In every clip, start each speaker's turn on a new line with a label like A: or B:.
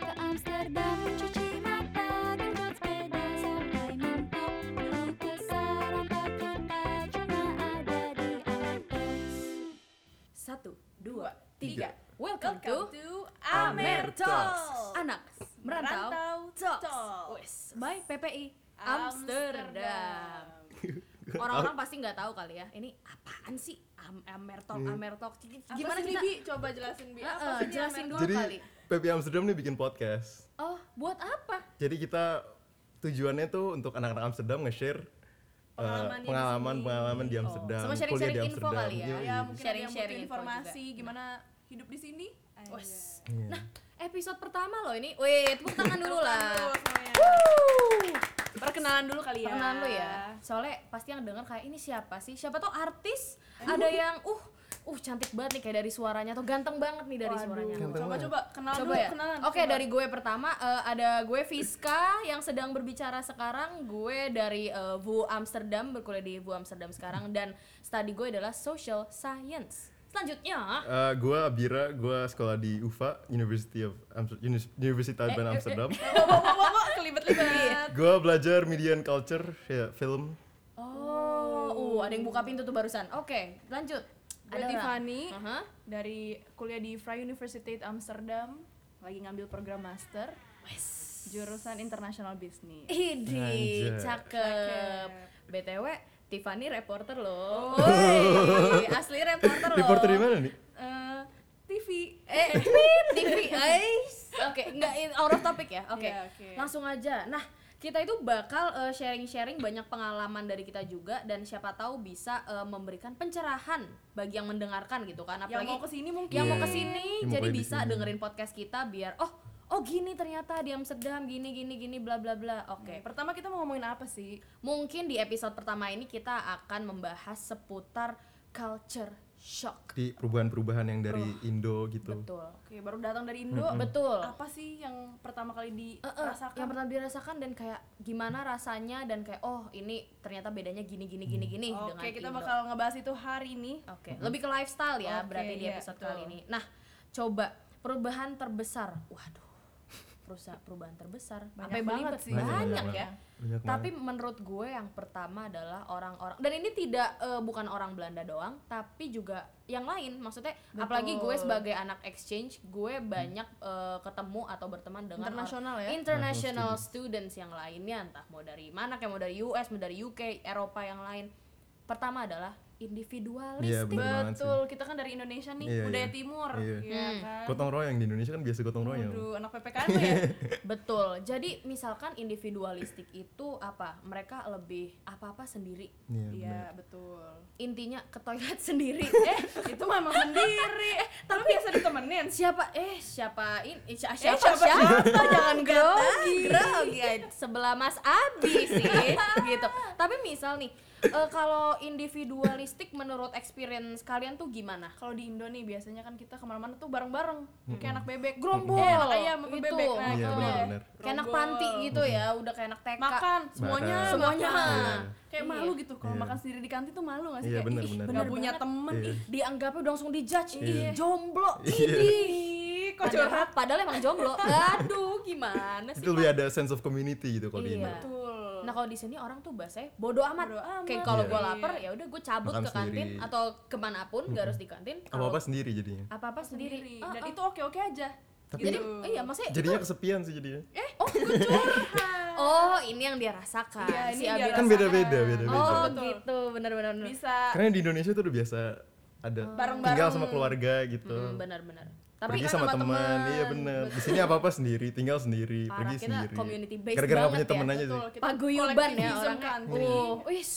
A: Amsterdam mencuci mata dengan sepeda sampai mentok Dulu kesaran terkena cuma ada di Amerika
B: Satu, dua,
C: tiga.
B: tiga. Welcome, to,
C: Amer Talks.
B: Anak Merantau,
C: Merantau
B: Talks.
C: Talks.
B: Wes, by PPI Amsterdam. Orang-orang pasti nggak tahu kali ya. Ini apaan sih Am Amer Talk, Amer Talk?
C: Gimana
B: Gimana
C: sih,
B: kita?
C: Bi? Coba jelasin, Bi. Apa
B: Heeh,
C: sih ini
B: jelasin
C: Amer
B: dulu.
C: Talks?
B: Dua
D: Jadi PP Amsterdam nih bikin podcast.
B: Oh, buat apa?
D: Jadi kita tujuannya tuh untuk anak-anak Amsterdam nge-share eh,
C: Pengalamannya di
D: pengalaman
C: sini.
D: pengalaman di Amsterdam,
B: Oh. Sama
D: kuliah di
B: sharing-sharing info
D: Amsterdam. Iya,
B: kali ya.
D: Yoi.
C: Ya, mungkin ada yang
B: Sharing-sharing
C: butuh
B: info
C: informasi gimana hidup di sini.
B: Wes.
D: Iya.
B: Nah, episode pertama loh ini. Wih, tepuk tangan dulu lah.
C: Perkenalan dulu kali ya.
B: Perkenalan lu ya. Soalnya pasti yang denger kayak ini siapa sih? Siapa tuh artis? Ada yang uh uh cantik banget nih kayak dari suaranya atau ganteng banget nih dari
C: Waduh.
B: suaranya.
D: Ganteng
C: Coba
D: banget.
C: coba kenalan
B: Coba
C: dulu,
B: ya.
C: kenalan.
B: Oke,
C: coba.
B: dari gue pertama eh, ada gue Fiska yang sedang berbicara sekarang. Gue dari eh, VU Amsterdam, berkuliah di VU Amsterdam sekarang dan studi gue adalah social science. Selanjutnya,
D: Eh, gua Abira, gua sekolah di UVA, University of Amster- Unis- Universitas
C: Eh, eh,
D: Band
C: eh.
D: Amsterdam.
C: Wow, wow, wow, wow, wow,
B: Iya.
C: kelibet-libet.
D: Gua belajar media and culture, ya film.
B: oh, uh, ada yang buka pintu tuh barusan. Oke, lanjut.
C: Gue
B: Ada orang?
C: Tiffany
B: Aha.
C: dari kuliah di Vrije Universiteit Amsterdam, lagi ngambil program master jurusan international business.
B: Idi,
D: Anjay.
B: cakep.
C: Cakep.
B: BTW, Tiffany reporter loh. Woi, asli reporter loh.
D: Reporter di mana nih?
C: Eh, TV.
B: Eh, pip, TV, guys. Oke, enggak in- out of topic ya. Oke.
C: Iya, oke.
B: Langsung aja. Nah, kita itu bakal eh, sharing-sharing banyak pengalaman dari kita juga dan siapa tahu bisa eh, memberikan pencerahan bagi yang mendengarkan gitu kan.
C: Yang mau
B: Apalagi
C: kesini mungkin.
B: yang mau
D: Iya.
B: ke sini
D: Yang mau
B: jadi
D: kayak di
B: bisa
D: sini.
B: dengerin podcast kita biar oh oh gini ternyata di Amsterdam gini gini gini bla bla bla. Oke.
C: Oke, pertama kita mau ngomongin apa sih?
B: Mungkin di episode pertama ini kita akan membahas seputar culture shock.
D: Di perubahan-perubahan yang dari Indo gitu.
B: Betul.
C: Oke, baru datang dari Indo.
B: Betul.
C: Apa sih yang pertama kali
B: Eh, eh,
C: dirasakan?
B: yang pernah dirasakan dan kayak gimana rasanya dan kayak oh ini ternyata bedanya gini gini gini gini dengan
C: Hmm. Oke, kita
B: Indo.
C: bakal ngebahas itu hari ini.
B: Oke, lebih ke lifestyle ya
C: Oke,
B: berarti di
C: iya,
B: episode
C: betul.
B: kali ini. Nah, coba perubahan terbesar. Waduh. Perusahaan perubahan terbesar
C: Banyak
B: Sampai
C: banget
B: belibet.
C: sih.
B: Banyak,
C: Banyak
B: ya.
C: banget.
D: Banyak
B: Tapi menurut gue yang pertama adalah orang-orang dan ini tidak eh, bukan orang Belanda doang, tapi juga yang lain. Maksudnya apalagi gue sebagai anak exchange, gue banyak eh, ketemu atau berteman dengan or-
C: Internasional ya?
B: international students yang lainnya, entah mau dari mana kayak mau dari US, mau dari UK, Eropa yang lain. Pertama adalah
D: Iya,
B: individualistik.
D: bener banget sih.
C: Betul, kita kan dari Indonesia nih,
D: Iya,
C: budaya
D: iya.
C: timur,
D: Iya.
C: ya
B: Hmm.
C: kan?
D: Gotong royong di Indonesia kan biasa gotong royong.
C: Aduh, anak PPKN lu
D: Iya,
C: ya?
B: Betul. Jadi misalkan individualistik itu apa? Mereka lebih apa-apa sendiri.
D: Iya,
C: Iya,
D: benar.
C: betul.
B: Intinya ke toilet sendiri.
C: Eh, itu memang sendiri. Eh, tapi biasa ditemenin.
B: siapa eh siapa ini eh, siapa,
C: siapa,
B: siapa, jangan grogi grogi aja. sebelah Mas Abi sih gitu tapi misal nih eh, kalau individualistik menurut experience kalian tuh gimana
C: Kalau di Indo nih biasanya kan kita kemana-mana tuh bareng-bareng, kayak anak bebek,
B: Gerombol.
C: Eh, anak ayam sama
B: Itu.
C: bebek.
B: Iya,
C: gitu
D: Hmm. benar,
C: deh.
D: benar.
B: kayak anak
C: Gerombol.
B: panti gitu ya udah kayak anak TK
C: makan semuanya
D: Makan.
B: Semuanya.
C: makan. kayak
B: Iya.
C: malu gitu kalau
D: Iya.
C: makan sendiri di kantin tuh malu gak sih
D: Iya,
C: kayak
D: benar,
C: ih,
D: benar.
C: nggak
D: Benar
C: punya temen
D: Iya.
C: ih
B: dianggapnya udah langsung dijudge ih
D: Iya.
B: jomblo
D: Iya.
B: ih
C: kok curhat
B: padahal emang jomblo aduh gimana sih
D: Itu lebih ada sense of community gitu kalau di
B: Iya.
D: Indo.
C: betul
B: Nah kalau di sini orang tuh bahasanya bodo amat.
C: Bodo amat.
B: Kayak kalau gue
C: Iya.
B: lapar ya udah gue cabut
D: Makan
B: ke kantin
D: sendiri.
B: atau kemanapun nggak harus di kantin. Kalau
D: Apa-apa sendiri jadinya.
B: apa-apa
C: sendiri
B: sendiri.
C: dan
B: Ah, ah.
C: itu oke-oke aja
D: Tapi- oh
B: jadi
C: Gitu.
B: iya maksudnya itu-
D: Jadinya kesepian sih jadinya.
B: oh gue curhat. oh ini yang dia rasakan
C: Iya, ini
B: si
C: yang
B: Abi.
C: dia
D: Kan
C: Biasa.
D: beda-beda, beda-beda.
B: Oh
C: Betul.
B: gitu benar-benar. benar.
C: bisa
D: Karena di Indonesia tuh udah biasa ada
C: Bareng-bareng.
D: tinggal sama keluarga gitu.
B: Oh. Hmm, benar-benar. Tapi kan
D: pergi sama,
B: teman,
D: teman, iya bener. Di sini apa apa sendiri, tinggal sendiri,
B: Parah, kita
D: pergi sendiri.
B: community based
D: Gara-gara nggak
B: banget
D: punya temen
B: ya.
D: aja sih.
C: betul kita
B: paguyuban ya
C: kolektivism kan.
B: orangnya.
C: country.
B: Oh, wis.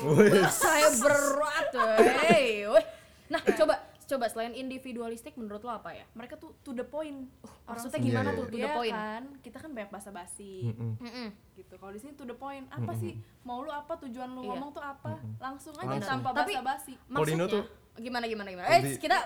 D: Wih,
B: Saya berat, wey. Wih. Nah,
C: Iya.
B: coba coba selain individualistik menurut lo apa ya?
C: mereka tuh to the point
B: Uh, maksudnya
C: sendiri.
D: gimana tuh
B: to the
C: Iya
B: point?
C: kan kita kan banyak basa basi
D: Mm-mm.
B: Mm-mm.
C: gitu kalau di sini to the point apa sih mau lu apa tujuan lu
B: Iya.
C: ngomong tuh apa langsung aja
D: Langsung.
C: tanpa
B: Tapi-
C: basa basi
D: Kalau di
B: Maksudnya
D: Indo tuh-
B: gimana gimana gimana?
D: Kalau
B: Eh,
D: di-
B: kita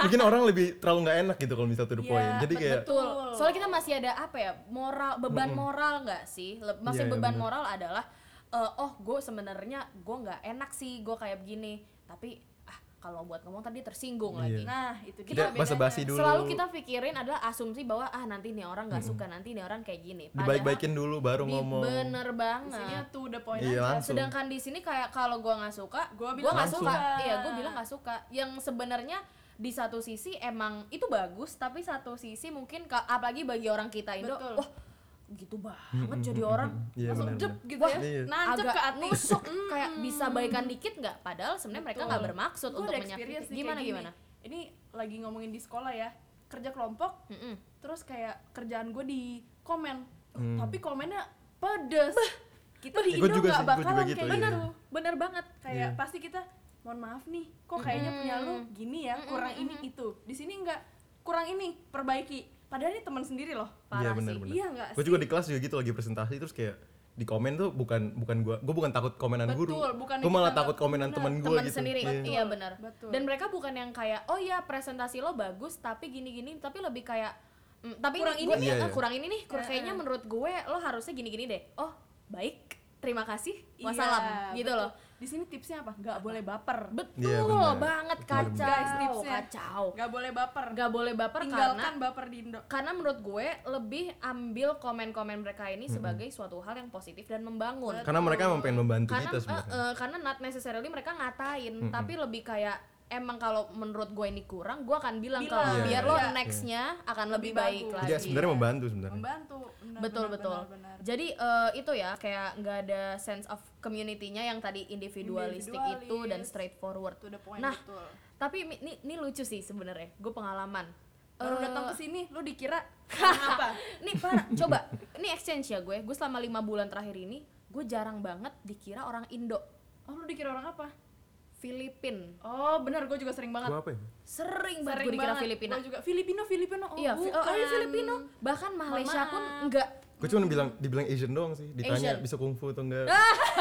D: Mungkin orang lebih terlalu nggak enak gitu kalau misalnya to the
C: Iya,
D: point. Jadi kayak
B: betul.
C: Betul.
B: Soalnya kita masih ada apa ya? Moral, beban moral nggak sih? Le- Masih
D: Iya, iya,
B: beban
D: bener.
B: moral adalah eh, oh, gue sebenarnya gue nggak enak sih, gue kayak begini. Tapi ah, kalau buat ngomong tadi tersinggung
D: Iya.
B: lagi.
C: Nah, itu dia.
D: Kita
C: bedanya.
D: basa-basi dulu.
B: Selalu kita pikirin adalah asumsi bahwa ah nanti nih orang nggak suka, nanti nih orang kayak gini.
D: dibaik-baikin dulu baru
B: di-
D: ngomong.
B: Bener
C: Di sini
B: banget.
C: tuh the point
D: Iya,
C: aja.
D: langsung.
B: Sedangkan di sini kayak kalau gua nggak suka,
C: Gua
B: gua
C: bilang
B: nggak
D: langsung.
B: suka. Iya, gua bilang nggak suka. Yang sebenarnya di satu sisi emang itu bagus, tapi satu sisi mungkin ka- apalagi bagi orang kita Indo,
C: Betul.
B: wah gitu banget jadi orang
D: Iya
C: Langsung
D: benar.
C: jep gitu
B: Wah,
C: ya.
D: Iya.
C: Nancep
B: agak
C: ke hati.
B: nusuk kayak bisa baikan dikit nggak padahal sebenarnya mereka
C: Betul.
B: nggak bermaksud
C: Gua
B: untuk
C: ada experience
B: menyakiti
C: nih
B: gimana
C: kayak gini.
B: gimana
C: Ini lagi ngomongin di sekolah ya. Kerja kelompok,
B: Mm-mm.
C: terus kayak kerjaan gue di komen. Uh,
D: Hmm.
C: Tapi komennya pedes. Kita di
D: Eh, gua
C: Indo
D: juga
C: gak
D: sih, gua juga
C: bakalan
D: gitu,
C: kayak
D: iya.
C: gitu. Bener banget. Kayak
D: Iya.
C: pasti kita mohon maaf nih, kok kayaknya punya lu gini ya, kurang ini itu. Di sini enggak kurang ini, perbaiki. Padahal ini teman sendiri loh.
B: parah
D: Iya benar
B: sih.
D: benar.
C: Iya nggak
D: Gue
C: sih?
D: juga di kelas juga gitu lagi presentasi terus kayak di komen tuh bukan bukan gua gua bukan takut komenan
C: Betul,
D: guru.
C: bukan
D: Gua malah
C: kita
D: takut
C: nggak-
D: komenan
C: benar,
D: teman gua
B: teman
D: gitu.
B: sendiri
D: Iya.
B: iya benar
C: betul.
B: dan mereka bukan yang kayak oh ya presentasi lo bagus tapi gini gini tapi lebih kayak "Mm, tapi ini,
C: Kurang ini
B: gue-
D: nih."
B: eh,
D: Iya, iya.
B: kurang ini nih kurang
C: Heeh.
B: kayaknya menurut gue lo harusnya gini gini deh oh baik terima kasih
C: Iya,
B: wassalam gitu
C: betul.
B: loh
C: Di sini tipsnya apa? Nggak boleh baper.
B: betul
D: Iya, benar.
B: banget
D: Benar,
B: kacau
D: benar.
C: Guys, tipsnya.
B: kacau
C: Nggak boleh baper.
B: nggak boleh baper karena
C: Tinggalkan baper di Indo.
B: karena menurut gue lebih ambil komen-komen mereka ini sebagai suatu hal yang positif dan membangun
D: Karena mereka emang pengen membantu
B: karena
D: kita
B: eh,
D: sebenarnya.
B: eh, karena not necessarily mereka ngatain tapi lebih kayak emang kalau menurut gue ini kurang gue akan bilang
C: Bilang.
B: kalau
D: Iya,
B: biar lo
D: iya.
B: nextnya akan lebih,
C: Lebih
B: baik
C: bagus.
B: lagi
D: Iya, sebenarnya membantu sebenarnya.
C: Membantu. Benar,
B: betul
C: benar,
B: betul
C: benar, benar.
B: jadi eh, itu ya kayak nggak ada sense of community-nya yang tadi individualistik itu dan
C: Individualis.
B: straightforward
C: To the point
B: Nah,
C: betul.
B: tapi mi- ini ini lucu sih sebenarnya gue pengalaman
C: Baru
B: Eh,
C: datang ke sini lu dikira apa?
B: nih parah coba ini exchange ya gue gue selama lima bulan terakhir ini gue jarang banget dikira orang Indo
C: Oh, lu dikira orang apa?
B: Filipin
C: Oh, benar gue juga sering banget.
D: Gua apa ya?
B: sering banget gue dikira Filipina
C: Gua juga Filipino, Filipino. Oh,
B: iya fi- oh,
C: bukan.
B: iya, Filipino bahkan Malaysia pun
C: maaf.
B: enggak
D: Gue cuma bilang dibilang Asian doang sih, ditanya
B: Asian. Ah.
D: bisa kungfu atau enggak,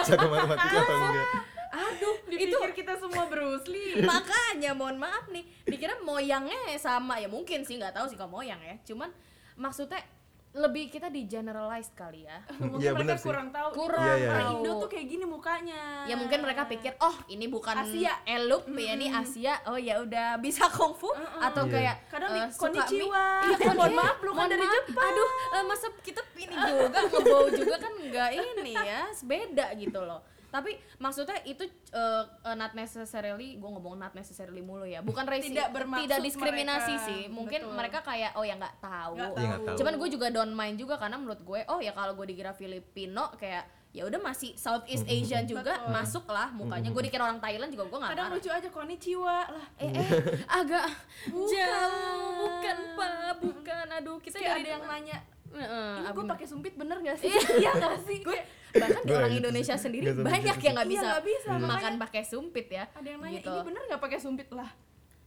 D: jago matematika atau enggak.
B: aduh itu
C: Dipikir kita semua Bruce Lee.
B: makanya mohon maaf nih dikira moyangnya sama ya mungkin sih nggak tahu sih kalau moyang ya cuman maksudnya lebih kita di generalize kali ya
C: Mungkin
D: Iya,
C: mereka
D: benar sih.
C: kurang tahu.
B: Kurang
D: Iya, iya.
C: Orang
B: tahu.
C: Indo tuh kayak gini mukanya.
B: ya mungkin mereka pikir oh ini bukan
C: Asia.
B: elup ya ini Asia oh ya udah bisa kungfu atau
D: Iya.
B: kayak
C: Kadang
B: eh,
C: di-
B: suka mie.
C: konnichiwa.
B: iya kon-
C: Mohon
B: iya,
C: maaf, lu kan
B: mohon
C: dari
B: maaf.
C: Jepang.
B: aduh eh, masa kita ini juga ngebau juga kan nggak ini ya beda gitu loh tapi maksudnya itu eh, eh, not necessarily gue ngomong not necessarily mulu ya bukan resi,
C: Tidak bermaksud
B: tidak diskriminasi
C: mereka.
B: sih mungkin
C: Betul.
B: mereka kayak oh ya nggak tahu
C: Nggak
D: Iya, nggak tahu.
B: cuman gue juga don't mind juga karena menurut gue oh ya kalau gue dikira Filipino kayak ya udah masih Southeast Asian juga
C: Betul.
B: masuk lah mukanya gue dikira orang Thailand juga gue nggak
C: kadang
B: marah
C: lucu aja konnichiwa lah.
B: eh eh agak
C: Bukan.
B: jauh bukan pak bukan aduh kita
C: Kayak
B: dari
C: ada yang nanya,
B: Heeh,
C: ini gue
B: abang-
C: pakai sumpit bener gak sih? iya gak sih?
B: gue bahkan di
D: Gue
B: orang
D: gitu sih.
B: Indonesia sendiri
D: Gak sama
B: banyak
D: gitu
B: yang nggak
C: sih.
B: bisa,
C: Iya, nggak bisa,
B: makan
C: makanya-
B: pakai sumpit ya
C: ada yang nanya,
B: Gitu.
C: ini bener gak pakai sumpit lah?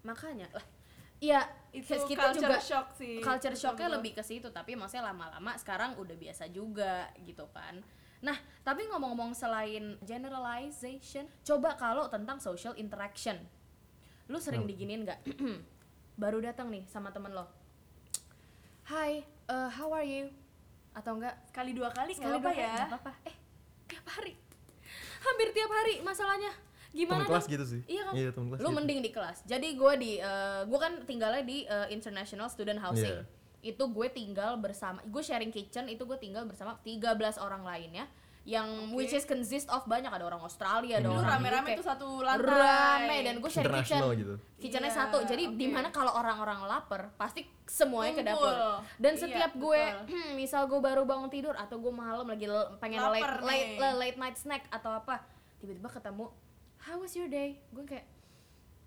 B: makanya lah ya
C: Itu
B: kita
C: culture
B: juga
C: shock sih.
B: culture
C: Betul,
B: shocknya
C: Iya, betul.
B: lebih ke situ tapi maksudnya lama-lama sekarang udah biasa juga gitu kan nah tapi ngomong-ngomong selain generalization coba kalau tentang social interaction lu sering
D: Kenapa?
B: diginin nggak baru datang nih sama temen lo hi uh, how are you atau enggak
C: Sekali dua kali
B: sekali
C: nggak apa
B: dua kali,
C: ya?
B: nggak apa-apa eh tiap hari hampir tiap hari masalahnya
D: Temen
B: gimana
D: kelas
B: dong?
D: gitu sih.
B: Iya kan?
D: Iya, temen kelas.
B: lu
D: gitu.
B: mending di kelas jadi gue di eh, gua kan tinggalnya di eh, international student housing
D: Iya.
B: itu gue tinggal bersama gue sharing kitchen itu gue tinggal bersama 13 orang lainnya yang
C: Oke.
B: which is consist of banyak ada orang Australia ada
D: Lu
C: Lu
B: orang UK.
C: rame-rame tuh satu lantai.
B: rame dan gue sharing kitchen
D: International gitu.
B: kitchennya
C: Iya,
B: satu jadi
C: oke.
B: dimana kalau orang-orang lapar pasti semuanya ke dapur
C: Kumpul.
B: dan
C: Iya,
B: setiap gue
C: betul.
B: hmm, misal gue baru bangun tidur atau gue malam lagi l- pengen
C: Laper
B: late late,
C: nih.
B: le- late night snack atau apa tiba-tiba ketemu how was your day gue kayak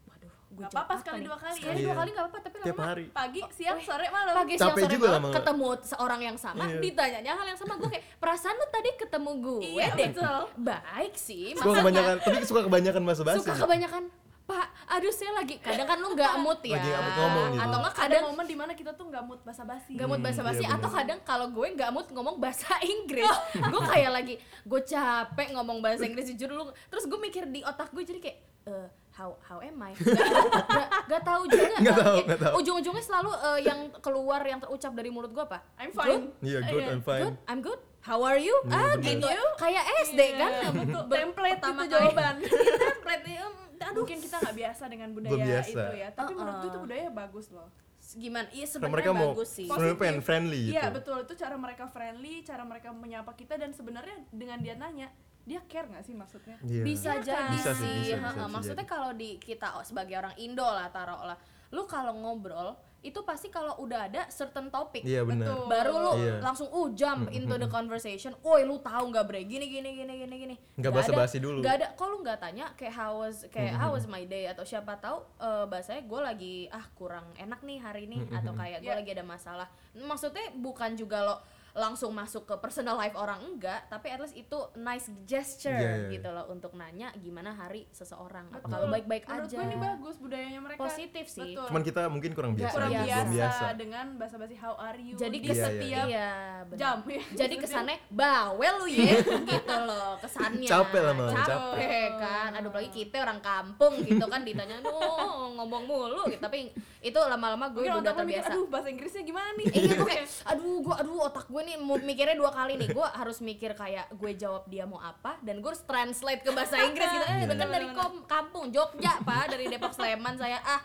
B: waduh gue
C: Gak
B: jawab
C: apa-apa sekali
B: nih?"
C: dua kali
B: sekali
C: ya.
B: dua
D: Iya.
B: kali nggak apa-apa tapi
D: Tiap
B: lama Oh, eh.
D: hari.
C: Pagi, siang, sore, malam.
B: pagi siang
D: Capek
B: sore
D: juga
B: malam
D: lama-lama.
B: ketemu seorang yang sama
D: Iya.
B: ditanyanya hal yang sama gue kayak perasaan lu tadi ketemu gue
C: Iya,
B: deh
C: betul.
B: baik sih
D: Suka kebanyakan, tapi suka kebanyakan bahasa basi.
B: suka kebanyakan pak aduh saya lagi kadang kan lu nggak mood ya
D: Lagi nggak mood ngomong gitu.
B: atau nggak
C: ada
B: kadang
C: momen dimana kita tuh nggak mood basa-basi.
B: nggak mood
D: Hmm,
B: bahasa basi
D: iya
B: atau
D: benar.
B: kadang kalau gue nggak mood ngomong bahasa Inggris
C: Oh.
B: gue kayak lagi gue capek ngomong bahasa Inggris jujur lu terus gue mikir di otak gue jadi kayak eh, how how am I gak, gak, gak tahu juga
D: Nggak tahu,
B: kayak
D: nggak tahu.
B: ujung-ujungnya selalu eh, yang keluar yang terucap dari mulut gue apa
C: I'm
B: Good?
C: fine.
D: Iya, good, I'm fine.
B: good I'm good how are you
D: Iya,
B: ah
D: benar.
B: gitu kayak SD
C: Iya,
B: kan
C: betul.
B: Ber-
C: Template gitu,
B: pertama
C: itu
B: kali.
C: jawaban.
B: Iya, template em, aduh
C: mungkin kita nggak biasa dengan budaya
D: Belum biasa.
C: itu ya tapi
B: Uh-uh.
C: menurutku itu budaya bagus loh
B: gimana iya
D: Karena
B: sebenarnya
D: mereka mau
B: bagus sih
D: sebenarnya pengen
C: Positif.
D: friendly gitu.
C: iya betul itu cara mereka friendly cara mereka menyapa kita dan sebenarnya dengan dia nanya dia care nggak sih maksudnya
D: Iya.
B: bisa
C: Iya kan?
B: jadi
D: Bisa sih,
B: sih,
D: bisa,
B: ha-ha.
D: bisa, bisa
B: maksudnya
D: jadi.
B: kalau di kita o- sebagai orang Indo lah taruh lah lu kalau ngobrol itu pasti kalau udah ada certain topic
D: Iya benar.
C: Betul.
B: baru lu
D: Iya.
B: langsung uh jump into the conversation woi lu tahu nggak bre gini gini gini gini gini
D: Nggak
B: Nggak ada-
D: basa-basi dulu.
B: nggak ada kok lu nggak tanya kayak how was kayak how was my day atau siapa tahu eh, bahasanya gue lagi ah kurang enak nih hari ini atau kayak gue
C: Iya.
B: lagi ada masalah maksudnya bukan juga lo langsung masuk ke personal life orang enggak tapi at least itu nice gesture
D: Iya, iya, iya.
B: gitu loh untuk nanya gimana hari seseorang apa
C: Betul.
B: kalau baik-baik
C: menurut
B: aja
C: gue ini bagus budayanya mereka
B: positif sih
C: Betul.
D: Cuman kita mungkin kurang
B: Nggak
D: biasa.
C: kurang
D: aja,
B: Iya,
C: biasa,
D: belum biasa.
C: dengan bahasa-bahasi how are you
B: jadi
C: di
D: Iya,
B: kesan
D: iya,
B: iya,
D: iya.
B: benar.
C: jam ya
B: jadi kesannya bawel lu ya gitu loh kesannya
D: Capek lah malah,
C: capek.
B: kan aduh apalagi kita orang kampung gitu kan ditanya "Oh, ngomong mulu gitu tapi itu lama-lama gue
C: mungkin
B: udah
C: orang mikir
B: terbiasa
C: aduh bahasa Inggrisnya gimana nih
B: Eh, iya gue kayak aduh gue aduh otak gue nih mau mikirnya dua kali nih gue harus mikir kayak gue jawab dia mau apa dan gue harus translate ke bahasa Inggris gitu eh
D: Iya.
B: kan dari kom- kampung Jogja pak dari Depok Sleman saya ah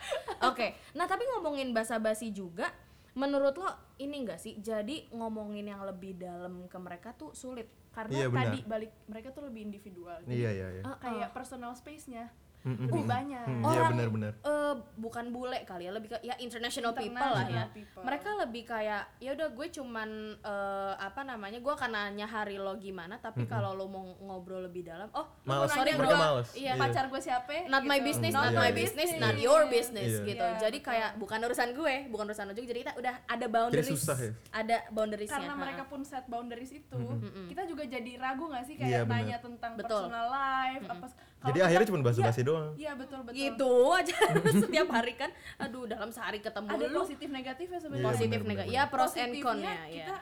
B: oke nah tapi ngomongin bahasa basi juga menurut lo ini enggak sih jadi ngomongin yang lebih dalam ke mereka tuh sulit
C: karena
D: Iya, benar.
C: tadi balik mereka tuh lebih individual Jadi
D: Iya, iya, iya.
B: Ah,
C: kayak personal space-nya
B: Uh,
D: Mm-mm.
C: lebih banyak
D: Mm, Iya,
B: orang
D: benar-benar.
B: eh, bukan bule kali ya lebih ke ya international, people lah ya
C: International people.
B: mereka lebih kayak ya udah gue cuman eh, apa namanya gue akan nanya hari lo gimana tapi kalau lo mau ngobrol lebih dalam oh lo mau
D: Males,
B: nanya
D: mereka
B: gua-
D: males.
B: iya
D: Iya.
C: pacar gue siapa
B: Not my
C: gitu.
B: business,
D: Not
B: not
D: my
B: my business, not
C: business.
B: your business
D: Iya.
B: gitu.
C: Iya,
B: Jadi
C: betul.
B: kayak bukan urusan gue, bukan urusan lo juga. Jadi kita udah ada boundaries,
D: susah ya?
B: ada boundariesnya.
C: karena
B: ha.
C: mereka pun set boundaries itu
B: Mm-mm.
C: kita juga jadi ragu nggak sih
D: Iya,
C: kayak
D: benar.
C: tanya tentang
B: Betul.
C: personal life apa kalau
D: Jadi
C: kita-
D: akhirnya cuma basa-basi
C: Iya,
D: doang.
C: iya betul betul
B: gitu aja setiap hari kan. Aduh dalam sehari ketemu
C: ada
B: lu
C: positif negatifnya
D: Iya,
C: sebenarnya
B: positif
D: benar,
B: nega.
D: benar,
B: Ya pros and
C: Positifnya
B: con-nya ya.
C: kita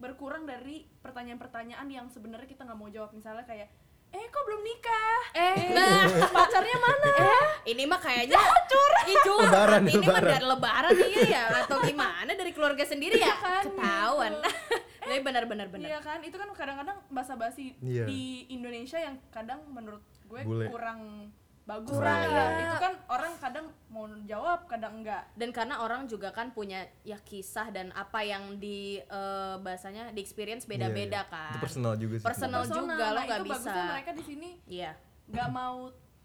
C: berkurang dari pertanyaan-pertanyaan yang sebenarnya kita nggak mau jawab misalnya kayak eh kok belum nikah
B: Eh, nah,
C: pacarnya mana
B: ini mah kayaknya cur, Ih, cur.
D: Lebaran,
B: ini mah
D: lebaran.
B: dari lebaran iya ya atau gimana dari keluarga sendiri ya ketahuan tapi benar-benar benar
C: kan? iya kan itu kan kadang-kadang basa-basi
D: Iya.
C: di Indonesia yang kadang menurut gue
D: Bule.
C: kurang bagus
D: Kurang,
C: lah
B: iya.
C: itu kan orang kadang mau jawab kadang enggak
B: dan karena orang juga kan punya ya kisah dan apa yang di eh, bahasanya di experience beda-beda
D: Iya, iya.
B: kan
D: Itu personal juga sih.
B: Personal.
D: sebenarnya.
C: Personal,
B: juga, lo
C: nah,
B: nggak
C: itu bagusnya
B: bisa.
C: mereka di sini
B: iya
C: nggak mau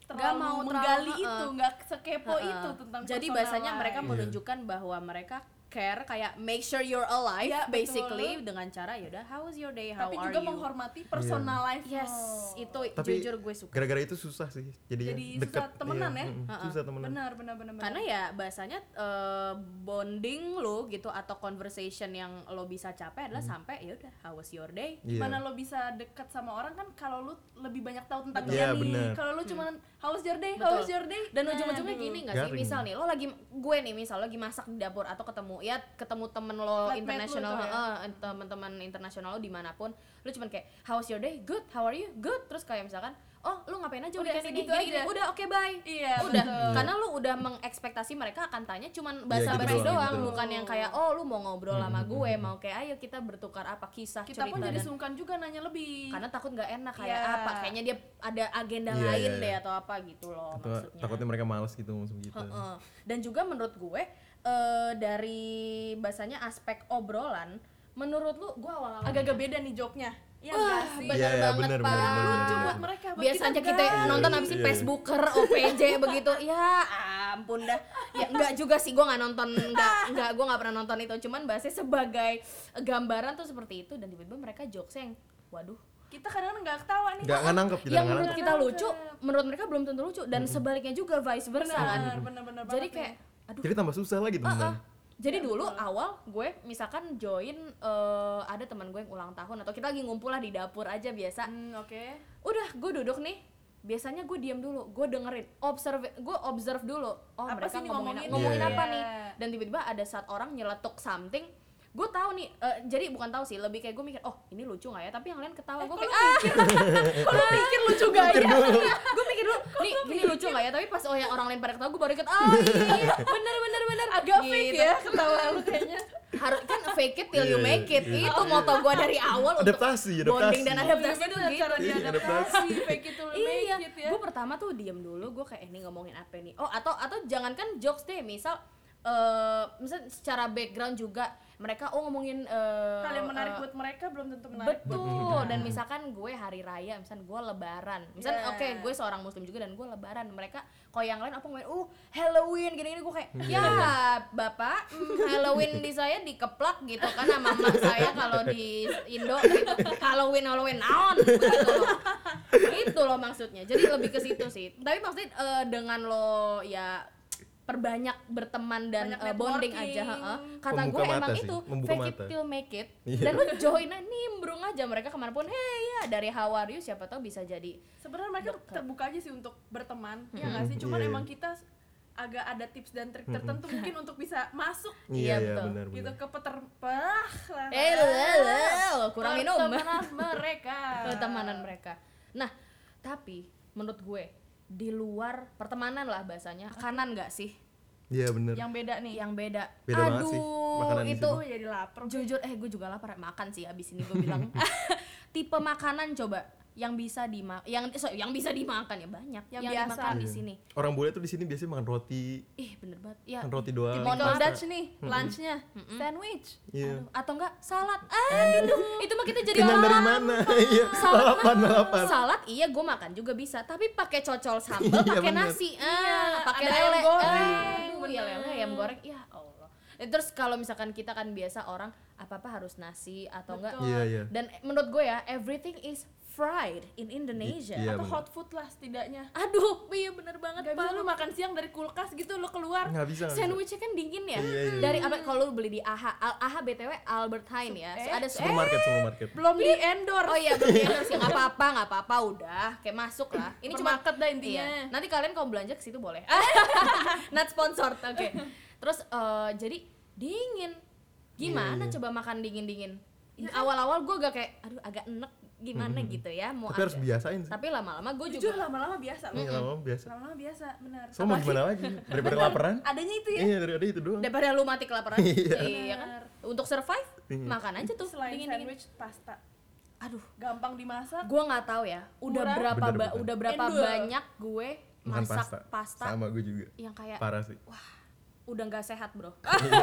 C: terlalu
B: Nggak mau
C: menggali
B: terlalu,
C: itu
B: heeh.
C: nggak sekepo
B: Heeh.
C: Oh, itu tentang
B: jadi
C: personal
B: bahasanya
C: life.
B: mereka menunjukkan bahwa mereka care kayak make sure you're alive
C: Iya, betul.
B: basically dengan cara yaudah how was your day how
C: tapi
B: are
C: juga
B: you
C: menghormati Oh. personal life
B: yes
C: lo.
B: itu
D: Tapi
B: jujur gue suka
D: Gara-gara itu susah sih. Jadinya
C: Jadi susah
D: deket. Iya,
C: temenan ya?
D: mm-mm,
B: Ha-ha.
D: Susah temenan.
C: benar benar benar benar.
B: karena ya bahasanya eh, bonding lo gitu atau conversation yang lo bisa capai adalah
C: Hmm.
B: sampai ya udah how was your day
D: Iya.
C: mana lo bisa dekat sama orang kan kalau lo lebih banyak tahu tentang
D: Betul.
C: dia
D: Iya,
C: nih
D: benar.
C: kalau lo cuman how's your day
B: Hmm. Betul.
C: how's your day
B: dan
C: Nah,
B: ujung-ujungnya
C: aduh.
B: gini gak sih
D: Garing.
B: misal nih lo lagi gue nih misal lagi masak di dapur atau ketemu ya ketemu temen lo
C: Flatmate lo
B: internasional
C: tuh ya.
B: eh, teman-teman internasional lo dimanapun lo cuman kayak how's your day good how are you good terus kayak misalkan oh lo ngapain aja
C: Udah,
B: weekend ini
C: segitu
B: Gini,
C: aja.
B: gini. udah oke bye
C: iya
B: udah
C: betul.
B: karena lu udah mengekspektasi mereka akan tanya cuman
D: Iya, gitu
B: basa basi
D: doang,
B: doang
D: gitu. Hmm,
B: bukan yang kayak oh lu mau ngobrol sama gue mau kayak ayo kita bertukar apa kisah
C: kita
B: cerita
C: pun jadi
B: dan-
C: sungkan juga nanya lebih
B: karena takut nggak enak kayak
C: Iya.
B: apa kayaknya dia ada agenda
D: Iya,
B: lain
D: iya,
B: deh
D: iya.
B: atau apa gitu loh
D: Atau
B: maksudnya
D: takutnya mereka males gitu ngomong gitu.
B: Heeh. dan juga menurut gue eh, dari bahasanya aspek obrolan menurut lu gue awal
C: agak-agak beda nih joknya ya
B: Wah,
D: Iya,
B: bener
D: iya,
B: banget
D: bener,
B: pak
D: bener, bener, bener,
B: Lucu
D: bener.
B: banget
C: mereka buat
B: biasanya kita
C: guys.
B: nonton abis
D: Iya, iya.
B: Facebooker, OPJ begitu ya ampun dah ya enggak juga sih gue nggak nonton enggak enggak gue nggak pernah nonton itu cuman bahasanya sebagai gambaran tuh seperti itu dan tiba-tiba mereka jokes yang waduh
C: kita kadang-kadang nggak ketawa nih
D: Gak, nggak nangkep kita
B: yang
D: nggak
B: menurut
D: nangkep.
B: kita
C: Nggak
B: lucu menurut mereka belum tentu lucu dan sebaliknya juga vice versa kan
C: benar benar benar
B: jadi
C: banget
B: kayak
C: nih.
B: aduh
D: Jadi tambah susah gitu, lagi temenan.
B: Heeh. Jadi
C: Ya,
B: dulu
C: betul.
B: awal gue misalkan join eh, ada teman gue yang ulang tahun atau kita lagi ngumpul lah di dapur aja biasa.
C: Hmm, oke
B: Udah gue duduk nih. Biasanya gue diam dulu, gue dengerin, observe, gue observe dulu. Oh
C: Apa
B: mereka
C: sih nih
B: ngomongin, ngomongin
C: ngomongin?
D: Iya,
B: apa
C: iya.
B: nih? Dan tiba-tiba ada saat orang nyeletuk something. Gue tahu nih, eh, jadi bukan tahu sih, lebih kayak gue mikir, oh ini lucu nggak ya? Tapi yang lain ketawa, gue kayak ah,
C: kalau mikir lucu gak
D: Mikir
C: ya
D: dulu.
B: gue mikir dulu, nih ini lucu nggak ya? Tapi pas oh yang orang lain pada ketawa, gue baru ikut, oh iya, iya, bener bener bener,
C: agak fake
B: iya." Gitu.
C: ya ketawa lu kayaknya
B: harus kan fake it till you
D: Iya,
B: make it.
D: iya.
B: Itu moto gua dari awal untuk
D: Adaptasi,
B: bonding
D: adaptasi.
B: dan adaptasi
C: Bener,
B: tuh gitu.
C: cara
D: Iya,
C: diadaptasi, fake it till you
B: Iya,
C: make it ya.
B: gue pertama tuh diem dulu, gue kayak "Eh, ini ngomongin apa nih? Oh atau atau jangankan jokes deh, misal eh misal secara background juga mereka oh ngomongin eh,
C: Hal yang menarik
B: eh,
C: buat mereka belum tentu menarik buat
B: betul dan misalkan gue hari raya misalkan gue lebaran misal
C: Yeah.
B: oke gue seorang muslim juga dan gue lebaran mereka kalau yang lain apa ngomongin uh Halloween gini gini gue kayak
C: Hmm.
B: ya bapak mm, Halloween di saya dikeplak gitu kan sama emak saya kalau di Indo gitu. Halloween Halloween naon begitu loh itu loh maksudnya jadi lebih ke situ sih tapi maksudnya eh, dengan lo ya perbanyak berteman dan
C: Banyak
B: eh, bonding aja
C: networking.
B: heeh. kata
D: Membuka
B: gue emang
D: mata sih,
B: itu
D: membuka
B: fake it
D: mata.
B: till make it
D: Iya.
B: dan lu join aja, nimbrung aja mereka kemanapun hei ya dari how are you siapa tahu bisa jadi
C: sebenarnya mereka
B: Dokter.
C: terbuka aja sih untuk berteman ya
D: Mm-mm.
C: nggak sih cuman
D: Iya, iya.
C: emang kita agak ada tips dan trik
D: Mm-mm.
C: tertentu mungkin untuk bisa masuk
B: Iya,
D: Iya, iya,
B: betul.
D: benar,
C: gitu
D: benar.
C: ke peterpah lah
B: eh lele, kurang minum
C: pertemanan mereka
B: Oh, pertemanan mereka nah tapi menurut gue di luar pertemanan lah bahasanya kanan nggak sih
D: Iya bener.
C: yang beda nih
B: yang beda,
D: Beda
B: aduh
D: banget sih, makanan di
B: itu
C: gue jadi lapar
B: jujur eh gue juga lapar makan sih abis ini gue bilang tipe makanan coba yang bisa dimakan yang so, yang bisa dimakan ya banyak yang,
C: Yang biasa.
B: dimakan di
D: Iya.
B: sini
D: Orang bule tuh di sini biasanya makan roti,
B: ih bener banget ya
D: makan Kan roti doang.
B: Mohon
C: Kalau
B: maaf,
C: Dutch nih lunchnya
B: Mm-mm.
C: sandwich
D: Iya.
B: Aduh, atau enggak salad aduh itu mah kita jadi
D: Kenyang
B: orang
D: dari mana? Iya. Lalapan, lalapan.
B: salad iya gue makan juga bisa tapi pakai cocol sambal
D: Iya,
B: pakai
D: bener.
B: nasi ah pakai
C: ada
B: lele
C: ayam goreng.
B: aduh, iya lele ayam goreng ya allah Eh, terus kalau misalkan kita kan biasa orang apa apa harus nasi atau enggak
C: Betul.
D: Iya, iya.
B: dan menurut gue ya everything is fried in Indonesia
D: Iya,
C: atau
D: bener.
C: hot food lah setidaknya
B: aduh iya bener banget
C: nggak bisa
B: Pak.
C: lu makan siang dari kulkas gitu lu keluar
D: Nggak bisa. nggak bisa.
B: sandwichnya kan dingin ya
D: Iya, iya,
B: dari apa kalau lu beli di AHA Al- AHA btw Albert Heijn ya
C: Eh,
B: ada
D: Supermarket, supermarket.
C: belum di endorse
B: Oh iya, belum di endorse ya nggak apa-apa, nggak apa-apa, udah kayak masuk lah. Ini cuma
C: Supermarket dah intinya.
B: Iya. Nanti kalian kalau belanja ke situ boleh. Not sponsored, oke. Terus eh, jadi dingin. Gimana
D: Iya, iya.
B: coba makan dingin-dingin?
C: Ya kan?
B: Awal-awal gue agak kayak, aduh agak enek gimana gitu ya mau
D: Hmm. Tapi harus
B: agak-
D: biasain sih.
B: Tapi lama-lama gue
C: jujur
B: juga
C: lama-lama biasa
D: Iya,
C: loh
D: lama-lama biasa.
C: lama-lama biasa benar
D: So mau
C: Apalagi
D: gimana lagi? Daripada kelaparan?
C: adanya itu ya
D: Iya, dari ada itu doang.
B: daripada lu mati kelaparan.
D: Iya.
B: iya kan? Untuk survive
D: Iya.
B: makan aja tuh
C: selain
B: dingin-dingin.
C: sandwich pasta
B: Aduh,
C: gampang dimasak
B: gue nggak tahu ya udah
C: Murah.
B: berapa
D: Bener,
B: ba-
D: bener.
B: udah berapa
C: Endul.
B: banyak gue
D: Makan
B: masak pasta,
D: Sama gue juga.
B: yang kayak
D: Parah sih.
B: udah nggak sehat bro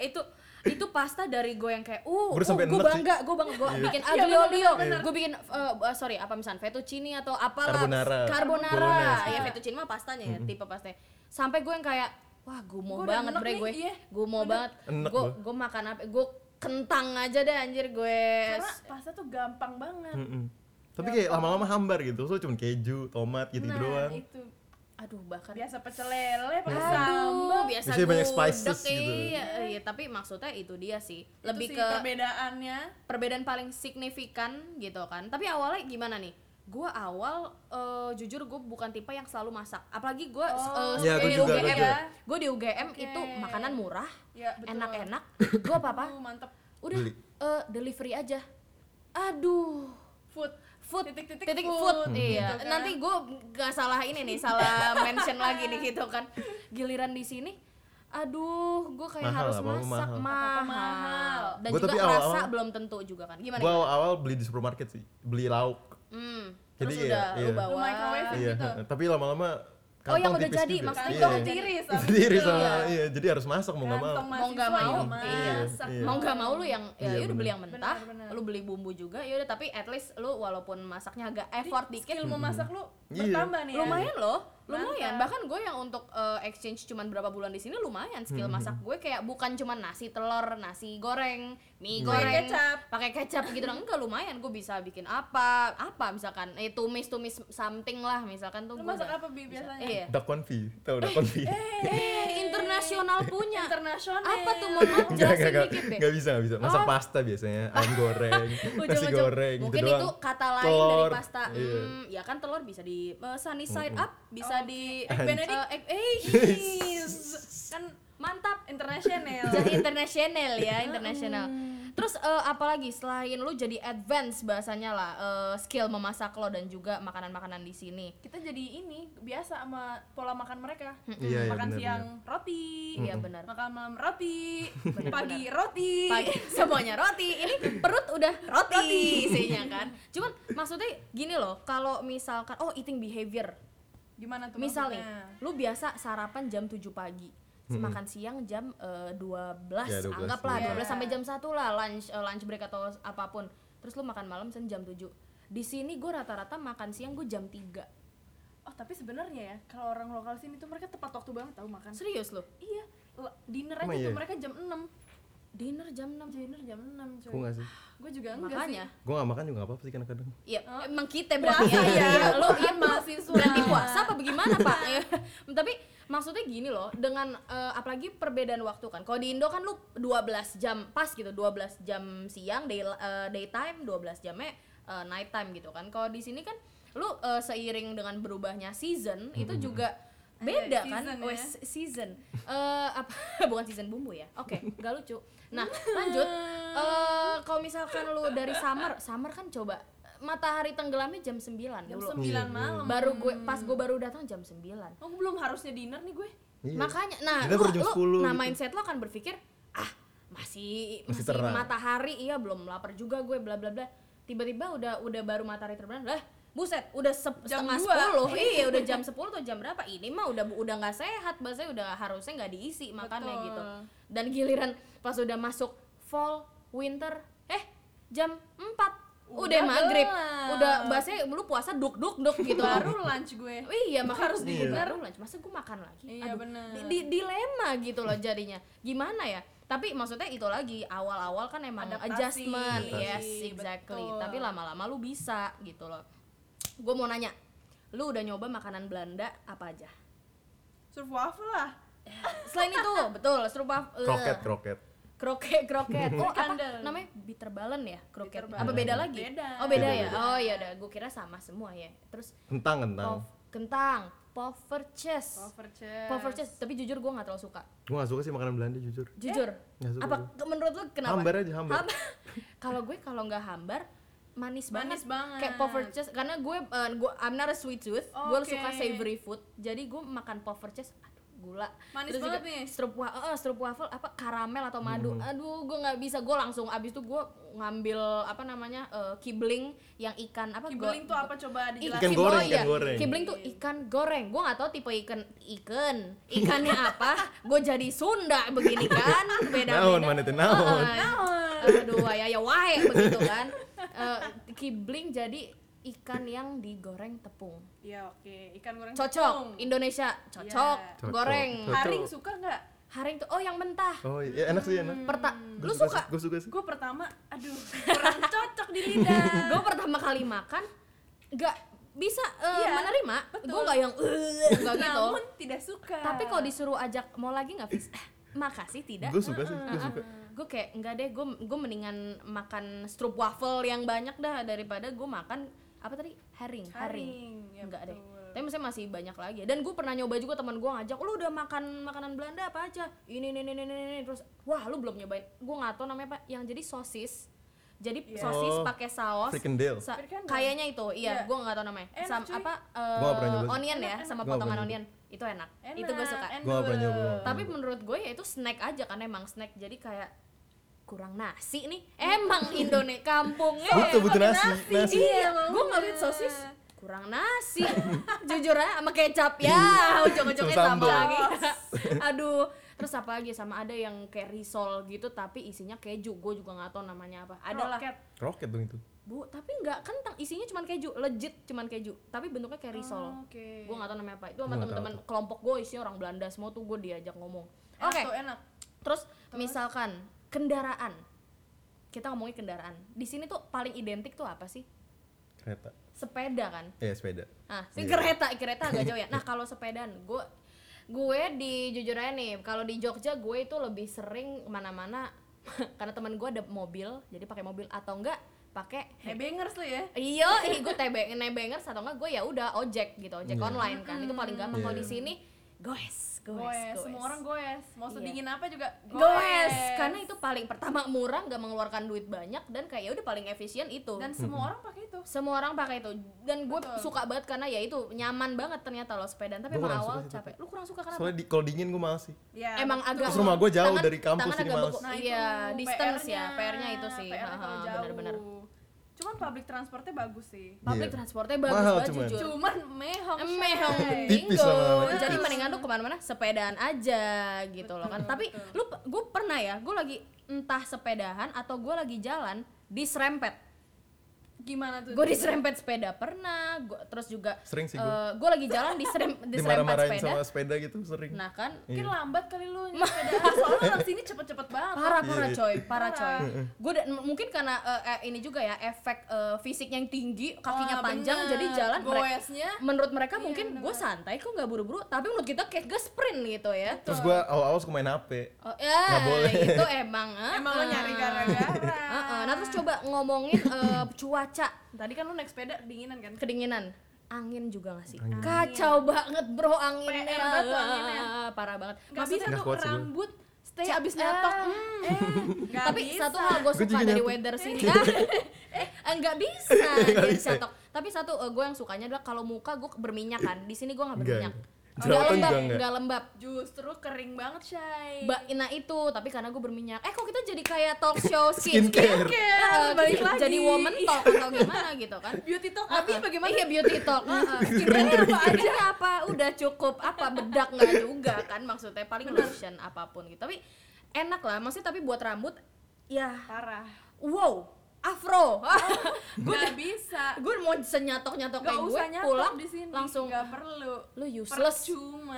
B: itu itu pasta dari gue yang kayak uh,
D: Gue sampai
B: gue
D: enek sih.
B: bangga gue bangga gue
D: Iya.
B: bikin
C: Iya,
B: aglio olio
D: bener, bener.
B: gue bikin eh, eh, sorry apa misalnya fettuccine atau apalah
D: Carbonara.
B: carbonara
D: Bolognese.
B: ya
C: Iya.
B: fettuccine mah pastanya ya tipe pastanya sampai gue yang kayak wah gue mau
C: Gua udah
B: banget
C: enek
B: bre
C: nih,
B: gue
C: iya.
B: gue mau banget
D: Enek
B: gue
D: gua.
B: gue makan apa gue kentang aja deh anjir gue
C: karena pasta tuh gampang banget
D: Mm-mm. Tapi
B: Ya
D: kayak lama-lama hambar gitu. So cuma keju, tomat gitu, -gitu doang.
B: iya.
C: itu
B: aduh bahkan
C: biasa pecel lele pakai
B: Aduh,
C: sambal
B: biasa
D: Biasanya banyak
B: gudeg,
D: spices gitu.
B: Iya, iya, tapi maksudnya itu dia sih. Lebih
C: lebih
B: ke
C: perbedaannya
B: perbedaan paling signifikan gitu kan. Tapi awalnya gimana nih? Gue awal eh, jujur gue bukan tipe yang selalu masak. Apalagi gue
C: Oh,
D: Iya, gua
B: di
D: juga, gua
B: UGM.
D: juga.
B: Gue ya. di UGM
C: Oke.
B: itu makanan murah,
C: ya betul
B: enak-enak. Gue apa-apa
C: Aduh, mantep
B: udah
D: Beli.
B: eh, delivery aja. Aduh,
C: food
B: food
C: Titik-titik
B: titik
C: food,
B: food,
C: Hmm.
B: iya
C: gitu kan.
B: nanti gue gak salah ini nih salah mention lagi nih gitu kan giliran di sini aduh gue kayak
D: Mahal,
B: harus
D: apa-apa
B: masak mahal.
D: mahal.
C: Apa-apa mahal.
B: dan
D: Gua
B: juga
D: tapi
B: rasa
D: awal-awal-
B: belum tentu juga kan gimana
D: Gue awal-awal beli di supermarket sih. Beli lauk.
B: hmm.
D: Jadi
B: terus
D: kayak,
B: udah lu
D: iya.
B: bawa
C: Lu microwave
D: Iya.
C: gitu.
D: Tapi lama-lama kantong
B: Oh, yang udah
D: tipis
B: jadi,
D: juga.
B: maksudnya
D: Iya.
C: kantong
B: iya.
C: tiris apa
D: Sendiri
C: gitu.
D: sama, iya. Jadi harus masak mau nggak mau.
C: Kantong
B: Mau nggak
C: mahasiswa
B: mau,
C: juga
B: iya,
C: masak.
D: iya.
B: mau nggak mau lu yang ya
D: Iya,
B: udah beli
D: bener.
B: yang mentah
C: Bener, bener.
B: lu beli bumbu juga ya udah tapi at least lu walaupun masaknya agak effort dikit
C: skill memasak lu
D: Iya.
C: bertambah nih ya.
B: lumayan loh lumayan
C: Mantap.
B: bahkan gue yang untuk eh, exchange cuman berapa bulan di sini lumayan
D: Hmm,
B: skill masak gue kayak bukan cuman nasi telur nasi goreng mie
D: Iya.
B: goreng
C: kecap.
B: pakai kecap gitu dong enggak lumayan gue bisa bikin apa apa misalkan eh tumis tumis something lah misalkan tuh
C: lu
B: gue
C: masak
B: udah
C: apa bi
B: bisa.
C: biasanya
B: iya
D: Duck confit. Tahu duck confit?
B: eh internasional punya
C: internasional
B: apa tuh mohon maaf
D: Enggak,
B: jelasin
D: enggak, enggak,
B: dikit deh
D: enggak bisa, enggak bisa. Masak
B: Oh.
D: pasta biasanya, ayam goreng, nasi
B: Ujung-ujung.
D: goreng,
B: mungkin
D: gitu
B: itu
D: doang.
B: kata lain
D: Telur,
B: dari pasta
D: iya.
B: Hmm, ya kan telur bisa di eh, sunny side
D: Mm-mm.
B: up bisa
C: Oh,
B: di
C: Egg Benedict.
B: Eh, egg- eh,
C: kan
B: mantap
C: internasional
B: jadi internasional ya internasional Terus eh, apalagi selain lu jadi advance bahasanya lah eh, skill memasak lo dan juga makanan-makanan di sini.
C: kita jadi ini biasa sama pola makan mereka
D: Iya, iya,
C: makan
D: benar,
C: siang roti
B: Iya benar.
C: makan malam roti
B: Benar,
C: pagi roti
B: Pagi semuanya roti. Ini perut udah roti, isinya kan. Cuman maksudnya gini loh, kalau misalkan oh eating behavior.
C: gimana tuh
B: Misalnya
C: maksudnya?
B: lu biasa sarapan jam 7 pagi. Makan siang jam eh, 12,
D: Ya, 12,
B: anggaplah
C: iya.
B: 12 sampai jam 1 lah lunch eh, lunch break atau apapun. Terus lu makan malam sen jam 7. Di sini gue rata-rata makan siang gue jam 3.
C: oh tapi sebenarnya ya kalau orang lokal sini tuh mereka tepat waktu banget tahu makan
B: Serius lu?
C: iya l- dinner aja
D: Emang
C: tuh
D: iya?
C: mereka jam 6
B: Dinner jam 6.
C: dinner jam 6
D: Gue
C: cuy
D: gak sih?
C: gue juga enggak
B: Makanya
C: sih
D: Gue gak makan juga gak apa-apa sih kadang-kadang
B: Iya,
C: Oh.
B: emang kita berarti
C: Puasa ya,
B: ya. Lo
C: kan
B: iya
C: mahasiswa.
B: mahasiswa. Berarti puasa apa bagaimana, Pak? Ya, Tapi maksudnya gini loh, dengan eh, apalagi perbedaan waktu kan. Kalau di Indo kan lu 12 jam pas gitu, 12 jam siang day eh, daytime, 12 jamnya eh, night time gitu kan. Kalau di sini kan lu eh, seiring dengan berubahnya season itu juga beda
C: Ada
B: kan
C: season ya.
B: Wes- season Eh, apa bukan season bumbu ya oke nggak lucu nah lanjut Eh, kalau misalkan lu dari summer summer kan coba matahari tenggelamnya jam 9
C: jam
B: dulu
C: 9
D: Iya,
C: malam
B: baru gue pas gue baru datang jam 9
C: oh gue belum harusnya dinner nih gue
D: Iya.
B: makanya nah
D: Kita
B: lu,
D: baru jam
B: lu-
D: 10
B: nah
D: gitu.
B: mindset lo kan berpikir ah masih
D: Masih
B: masih,
D: terang.
B: matahari iya belum lapar juga gue bla bla bla tiba-tiba udah udah baru matahari terbenam lah buset udah sep-
C: Jam
B: setengah
C: dua.
B: sepuluh iya udah jam sepuluh atau jam berapa ini mah udah udah nggak sehat bahasanya udah harusnya nggak diisi makannya
C: Betul.
B: gitu dan giliran pas udah masuk fall winter eh jam 4 udah,
C: Udah
B: maghrib
C: gelap.
B: udah bahasanya lu puasa duk duk duk gitu
C: baru lunch gue
B: Oh iya makanya
C: Harus
B: harus
D: Iya.
B: dinner lunch masa gue makan lagi
C: Iya, bener.
B: di, di- dilema gitu loh jadinya gimana ya tapi maksudnya itu lagi awal-awal kan emang
C: Adaptasi.
B: adjustment
D: Adaptasi.
B: yes exactly
C: Betul.
B: tapi lama-lama lu bisa gitu loh gue mau nanya lu udah nyoba makanan Belanda apa aja
C: surf waffle lah
B: selain itu betul serupa eh,
D: Kroket, kroket
B: kroket kroket oh apa
C: Kandel.
B: namanya bitter balen ya kroket
C: Bitter
B: apa
D: balen.
B: beda lagi
C: Beda.
B: oh beda,
D: Beda,
B: ya
D: beda.
B: oh iya udah gue kira sama semua ya terus
D: Kentang, kentang
B: pof- kentang poffertjes
C: Poverches.
B: Poffertjes, tapi jujur gue gak terlalu suka
D: Gue gak suka sih makanan Belanda jujur
B: Jujur
C: Eh?
D: Nggak suka
B: Apa,
D: gua.
B: ke- menurut lu kenapa?
D: Hambar aja, hambar.
B: Kalau gue kalau nggak hambar Manis banget
C: Manis banget.
B: Kayak poffertjes Karena gue, eh, gue I'm not a sweet tooth Gue
C: Oke.
B: suka savory food Jadi gue makan poffertjes Aduh gula
C: Manis
B: juga
C: banget nih.
B: Strop, wa- eh, strop waffle apa karamel atau madu
D: Hmm.
B: Aduh gue nggak bisa Gue langsung abis itu gue ngambil apa namanya eh, Kibling yang ikan apa go-
C: Kibeling tuh apa coba dijelasin?
D: Ikan
B: Kib-
D: goreng,
B: oh iya.
D: ikan goreng.
B: Kibling tuh ikan goreng. Gua nggak tahu tipe ikan ikan. Ikannya apa? Gue jadi Sunda begini kan, beda-beda.
D: Naon, mana teh, naon?
B: Heeh. iya. Aduh, ya ya wae begitu kan. Eh, kibling jadi ikan yang digoreng tepung.
C: Iya oke, ikan goreng tepung.
B: Cocok Indonesia, cocok,
C: Iya.
D: Cocok.
B: goreng.
D: Cocok.
C: Haring suka nggak?
B: Haring tuh oh yang mentah.
D: Oh iya, enak sih enak
B: Perta
D: Gua
B: lu suka?
D: Gue suka sih
C: Gue pertama, aduh kurang cocok di lidah.
B: gue pertama kali makan nggak bisa eh,
C: Iya,
B: menerima gue nggak yang "Eh," nggak gitu
C: Namun tidak suka.
B: tapi kalau disuruh ajak mau lagi nggak Fis? Eh, makasih tidak
D: Gue suka sih, gue suka
B: gue kayak enggak deh gue gue mendingan makan strup waffle yang banyak dah daripada gue makan apa tadi herring
C: Haring,
B: herring
C: ya
B: enggak deh
C: betul.
B: tapi maksudnya masih banyak lagi dan gue pernah nyoba juga teman gue ngajak lu udah makan makanan Belanda apa aja ini ini ini ini, ini, ini." terus wah lu belum nyobain gue nggak tahu namanya apa yang jadi sosis jadi
C: Iya.
B: sosis
D: Oh,
B: pakai saus
D: frikandel.
B: sa-
C: Frikandel.
B: kayaknya itu iya
C: Iya.
B: gue nggak tahu namanya
C: Enak,
B: Sam-
C: cuy.
B: apa
D: Gua nggak pernah
B: eh,
D: nyoba sih.
B: onion ya sama
D: Gua nggak
B: potongan
D: pernah
B: onion itu enak,
C: Enak,
B: itu gue suka
C: and
D: Gua nggak pernah
C: good.
D: nyoba.
B: tapi menurut gue ya itu snack aja kan emang snack jadi kayak kurang nasi nih emang Indonesia kampungnya
D: Betul,
B: emang
D: betul, nasi, nasi.
B: iya gue ngeliat sosis kurang nasi jujur aja sama kecap ya ujung-ujungnya sama
D: Sama sambal.
B: lagi aduh terus apa lagi sama ada yang kayak risol gitu tapi isinya keju gue juga nggak tahu namanya apa ada lah
C: Roket.
D: Kroket dong itu
B: bu tapi nggak kentang isinya cuman keju legit cuman keju tapi bentuknya kayak risol
C: Oh, Oke.
B: gue gak tau namanya apa itu
D: Gua
B: sama
D: nggak
B: teman-teman kelompok gue isinya orang Belanda semua tuh gue diajak ngomong oke
C: Enak tuh, enak.
B: terus, misalkan kendaraan kita ngomongin kendaraan di sini tuh paling identik tuh apa sih
D: Kereta
B: sepeda kan
D: Eh, sepeda
B: ah
D: Iya.
B: kereta kereta agak jauh ya nah kalau sepedaan gue gue di jujur aja nih kalau di Jogja gue itu lebih sering kemana-mana karena teman gue ada mobil jadi pakai mobil atau enggak pakai
C: Hebengers lu ya.
B: Iya, ih gue tebeng nebengers atau enggak gue ya udah ojek gitu, ojek online kan. Itu paling gampang. Kalau di
D: Iya.
B: sini goes, goes,
C: goes semua orang goes mau
B: Iya.
C: sedingin apa juga
B: goes. karena itu paling pertama murah nggak mengeluarkan duit banyak dan kayak ya udah paling efisien itu
C: dan
D: Hmm.
C: semua orang pakai itu
B: semua orang pakai itu dan gue
C: Betul.
B: suka banget karena ya itu nyaman banget ternyata lo sepedaan tapi
D: Gua
B: emang
D: kurang
B: awal
D: suka sih,
B: capek lu kurang suka kenapa
D: Soalnya di, kalau dingin gue males sih.
C: ya,
B: emang
C: betul.
B: agak
D: Terus rumah gua jauh
B: tangan-
D: dari kampus,
B: tangan
D: jadi
B: agak
D: males.
B: beku.
C: Nah,
B: iya
C: itu
B: distance ya
C: PR-nya.
B: PR-nya itu sih Ha-ha,
C: PR-nya kalau jauh.
B: bener-bener
C: cuman public transportnya bagus sih
B: public
D: Iya.
B: transportnya bagus
D: Mahal
B: banget
D: cuman.
B: jujur
C: cuman mehong
B: Emehong
C: Shay.
D: Tipis
B: bingo.
D: lama-lama.
B: Jadi mendingan lu kemana-mana sepedaan aja gitu loh kan. Tapi lu gue pernah ya, gue lagi entah sepedahan atau gue lagi jalan diserempet.
C: gimana tuh
B: Gue diserempet sepeda pernah. Gua, terus juga
D: Sering sih gue.
B: eh, gue lagi jalan diserem, diserempet
D: Dimarah-marahin
B: sepeda.
D: sama sepeda gitu sering.
B: Nah kan
C: mungkin
D: Iya.
C: lambat kali lu sepedaan soalnya orang sini cepet-cepet banget
B: parah parah
D: Iya.
B: coy parah coy
C: Parah.
B: gue mungkin karena eh, eh, ini juga ya efek eh, fisik yang tinggi kakinya
C: Wah,
B: panjang
C: Ah, bener.
B: jadi jalan mereka
C: goesnya
B: menurut mereka
C: Iya,
B: mungkin gue
C: bener-bener.
B: santai kok nggak buru-buru tapi menurut kita kayak gue sprint gitu ya
D: Terus gue awal-awal suka main HP.
B: Oh, ya,
D: Nggak boleh.
B: itu emang. eh,
C: emang lo
B: eh.
C: nyari gara-gara
B: Eh, eh. Nah terus coba ngomongin eh, cuaca
C: tadi kan lu naik sepeda dinginan kan
B: kedinginan, angin juga nggak sih?
D: Angin.
B: Kacau banget bro Eh, anginnya,
C: PR banget tuh anginnya.
B: Ah, parah banget.
C: Gak
B: Maksudnya-
C: bisa
D: Nggak
C: tuh
D: kuat sih gua.
C: rambut stay
B: Ca-
C: abis
B: eh.
C: nyatok hmm. eh,
B: tapi satu hal gue
D: Gua
B: suka
D: juga
B: dari
D: nyatok.
B: weather sini, Ah, eh eh, nggak bisa,
D: Nggak
B: jadi
D: bisa.
B: catok. Tapi satu gue yang sukanya adalah kalau muka gue berminyak kan, di sini gue nggak
D: Enggak.
B: berminyak. Nggak
D: Jerawatan
B: lembab,
D: juga enggak.
B: nggak lembab.
C: justru kering banget Shay
B: Ba- nah itu, tapi karena gue berminyak. Eh kok kita jadi kayak talk show skin,
D: Skincare.
B: Eh,
C: balik
B: jadi-
C: lagi.
B: jadi woman talk atau gimana gitu kan
C: beauty talk tapi
B: Ah,
C: bagaimana
B: iya beauty talk ah, ah.
D: Kering,
B: Skincare apa aja apa udah cukup apa bedak nggak juga kan maksudnya paling lotion apapun gitu tapi enak lah maksudnya tapi buat rambut ya
C: parah
B: wow
C: Oh.
B: afro
C: gue udah bisa
B: gue mau senyatok nyatok
C: gak
B: kayak gue
C: usah nyatok
B: pulang
C: di sini
B: langsung
C: gak perlu
B: lu useless
C: percuma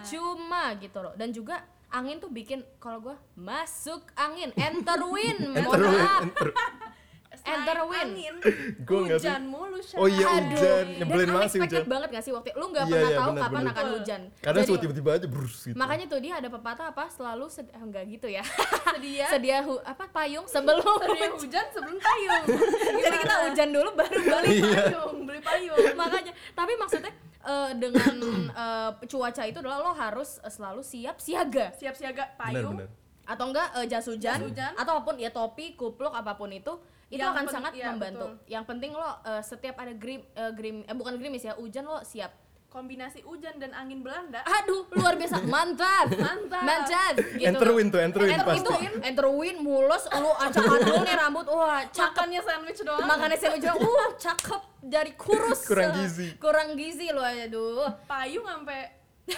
B: percuma gitu loh dan juga angin tuh bikin kalau gua masuk angin enter win mohon
D: Enter win,
B: maaf
D: enter-
C: Selain
B: Enter win.
C: angin,
D: Gua nggak sih.
C: hujan mulu Shay
D: Oh iya
B: Aduh,
D: hujan, nyebelin
B: dan
D: banget sih
B: unexpected
D: hujan.
B: banget gak sih waktu lu nggak
D: Iya,
B: pernah
D: iya,
B: tahu
D: bener,
B: kapan
D: bener.
B: akan hujan
D: Kadang
B: Jadi-
D: suka tiba-tiba aja brus gitu.
B: makanya tuh dia ada pepatah apa selalu sed- eh, enggak gitu ya
C: sedia
B: sedia hu- apa payung sebelum
C: sedia
B: hujan.
C: hujan sebelum payung
B: jadi kita hujan dulu baru
C: beli
B: balik
D: Iya.
C: payung beli payung
B: makanya tapi maksudnya eh, dengan eh, cuaca itu adalah lo harus eh, selalu siap siaga
C: siap siaga
D: benar
C: payung
D: benar.
B: atau enggak eh, jas hujan,
C: Jas hujan.
B: atau apapun ya topi kupluk apapun itu itu
C: Yang
B: akan
C: pen-
B: sangat
C: iya,
B: membantu
C: betul.
B: yang penting lo eh, setiap ada grim eh, grim eh, bukan gerimis ya hujan lo siap
C: kombinasi hujan dan angin Belanda
B: aduh luar biasa mantap
C: Mantap.
B: mantap gitu
D: Enter
B: loh.
D: win tuh, enter win
B: Enter
D: pasti.
B: itu enter win mulus lu acak acak nih rambut wah cakep
C: makannya sandwich doang
B: makannya saya bilang wah cakep dari kurus
D: Kurang gizi.
B: kurang gizi lo aduh
C: payung sampai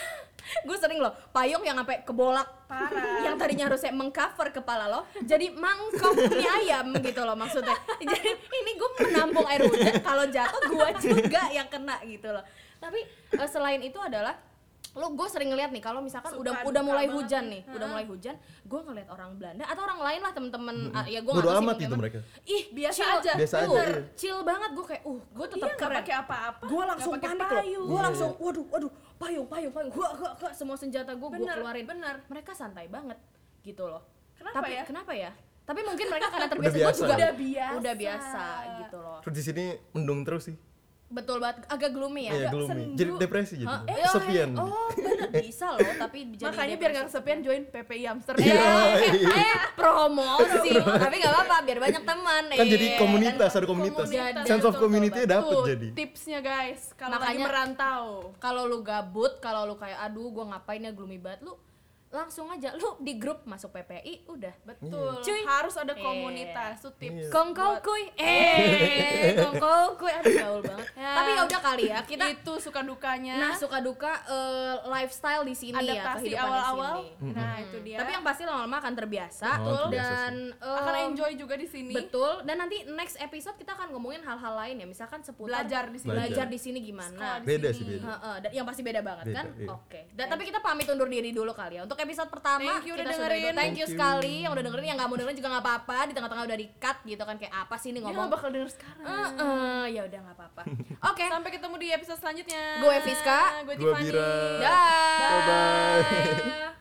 B: gue sering loh payung yang sampai kebolak
C: Parah.
B: yang tadinya harusnya mengcover kepala lo jadi mangkok mie ayam gitu loh maksudnya jadi ini gue menampung air hujan kalau jatuh gue juga yang kena gitu loh tapi eh, selain itu adalah lo gue sering ngeliat nih kalau misalkan
C: Suka
B: udah
C: duka
B: udah mulai
C: banget
B: hujan
C: nih.
B: nih udah mulai hujan gue ngeliat orang Belanda atau orang lain lah temen-temen ah, ya gue
D: Bodo
B: nggak tahu sih
D: amat
B: mungkin
D: itu
B: emang.
D: mereka.
B: ih
C: Biasa
B: chill.
C: aja.
D: Biasa aja,
B: Bener.
D: iya.
B: chill banget gue kayak uh gue tetap
C: Iya, nggak
B: keren
C: pakai apa-apa
B: gue langsung
C: nggak pakai
B: panik loh
C: payung.
B: gue
D: Iya,
B: langsung waduh waduh payung payung payung gua gua gua semua senjata gue gue
C: Bener,
B: keluarin
C: bener.
B: mereka santai banget gitu loh
C: Kenapa
B: tapi
C: ya?
B: kenapa ya tapi mungkin mereka karena terbiasa
D: biasa.
B: gue juga
C: Udah biasa.
B: udah biasa gitu loh
D: Terus di sini mendung terus sih.
B: betul banget agak gloomy ya
D: Iya,
C: Agak
D: gloomy.
C: sendu.
D: Jadi depresi jadi.
B: Hah? Eh,
D: Kesepian.
B: oh, oh bener bisa loh tapi jadi
C: makanya biar
B: depresi.
C: gak kesepian join PPI Amsterdam
D: Iya,
B: eh, eh, eh, promosi tapi nggak apa-apa biar banyak teman
D: Kan jadi
B: eh.
D: komunitas, ada komunitas.
B: komunitas.
D: Sense of
B: Betul,
D: community
B: betul,
D: iya, dapet
C: Tuh,
D: jadi.
C: tipsnya guys kalau lagi
B: Makanya-
C: merantau
B: kalau lu gabut kalau lu kayak aduh gua ngapain ya gloomy banget lu langsung aja lu di grup masuk PPI udah
C: betul
B: Cuy.
C: harus ada
B: Iya.
C: komunitas tuh tips
B: kongkau kuy eh kongkau kuy aduh gaul banget
C: Ya.
B: tapi ya udah kali ya kita
C: itu suka dukanya
B: nah suka duka eh, lifestyle di sini ya
C: adaptasi
B: kehidupan
C: awal-awal
B: di sini
C: nah itu dia
B: tapi yang pasti lama-lama akan terbiasa
D: Oh, terbiasa
B: dan eh,
C: akan enjoy juga di sini
B: betul dan nanti next episode kita akan ngomongin hal-hal lain ya misalkan seputar
C: belajar di sini
B: belajar Nah,
D: Belajar.
B: di sini
C: Sekolah
B: gimana
C: di
D: Beda
C: sini.
D: sih, beda.
B: Heeh, dan yang pasti beda banget
D: Iya. Beda,
B: kan?
D: iya.
B: Oke. Dan tapi kita pamit undur diri dulu kali ya. Untuk episode pertama
C: Thank you
B: kita
C: udah
B: sudah
C: dengerin.
B: itu. Thank,
D: Thank
B: you
D: you.
B: sekali yang udah dengerin, yang nggak mau dengerin juga nggak apa-apa. Di tengah-tengah udah di-cut gitu kan kayak apa sih ini
C: Dia
B: ngomong.
C: nggak Iya, bakal denger sekarang
B: Eh, eh, ya udah nggak apa-apa. Oke.
C: sampai ketemu di episode selanjutnya
B: Gue Fiska.
C: gue
D: Gua
C: Tiffany
D: Bira.
B: Dah.
D: Bye-bye.
B: Dah.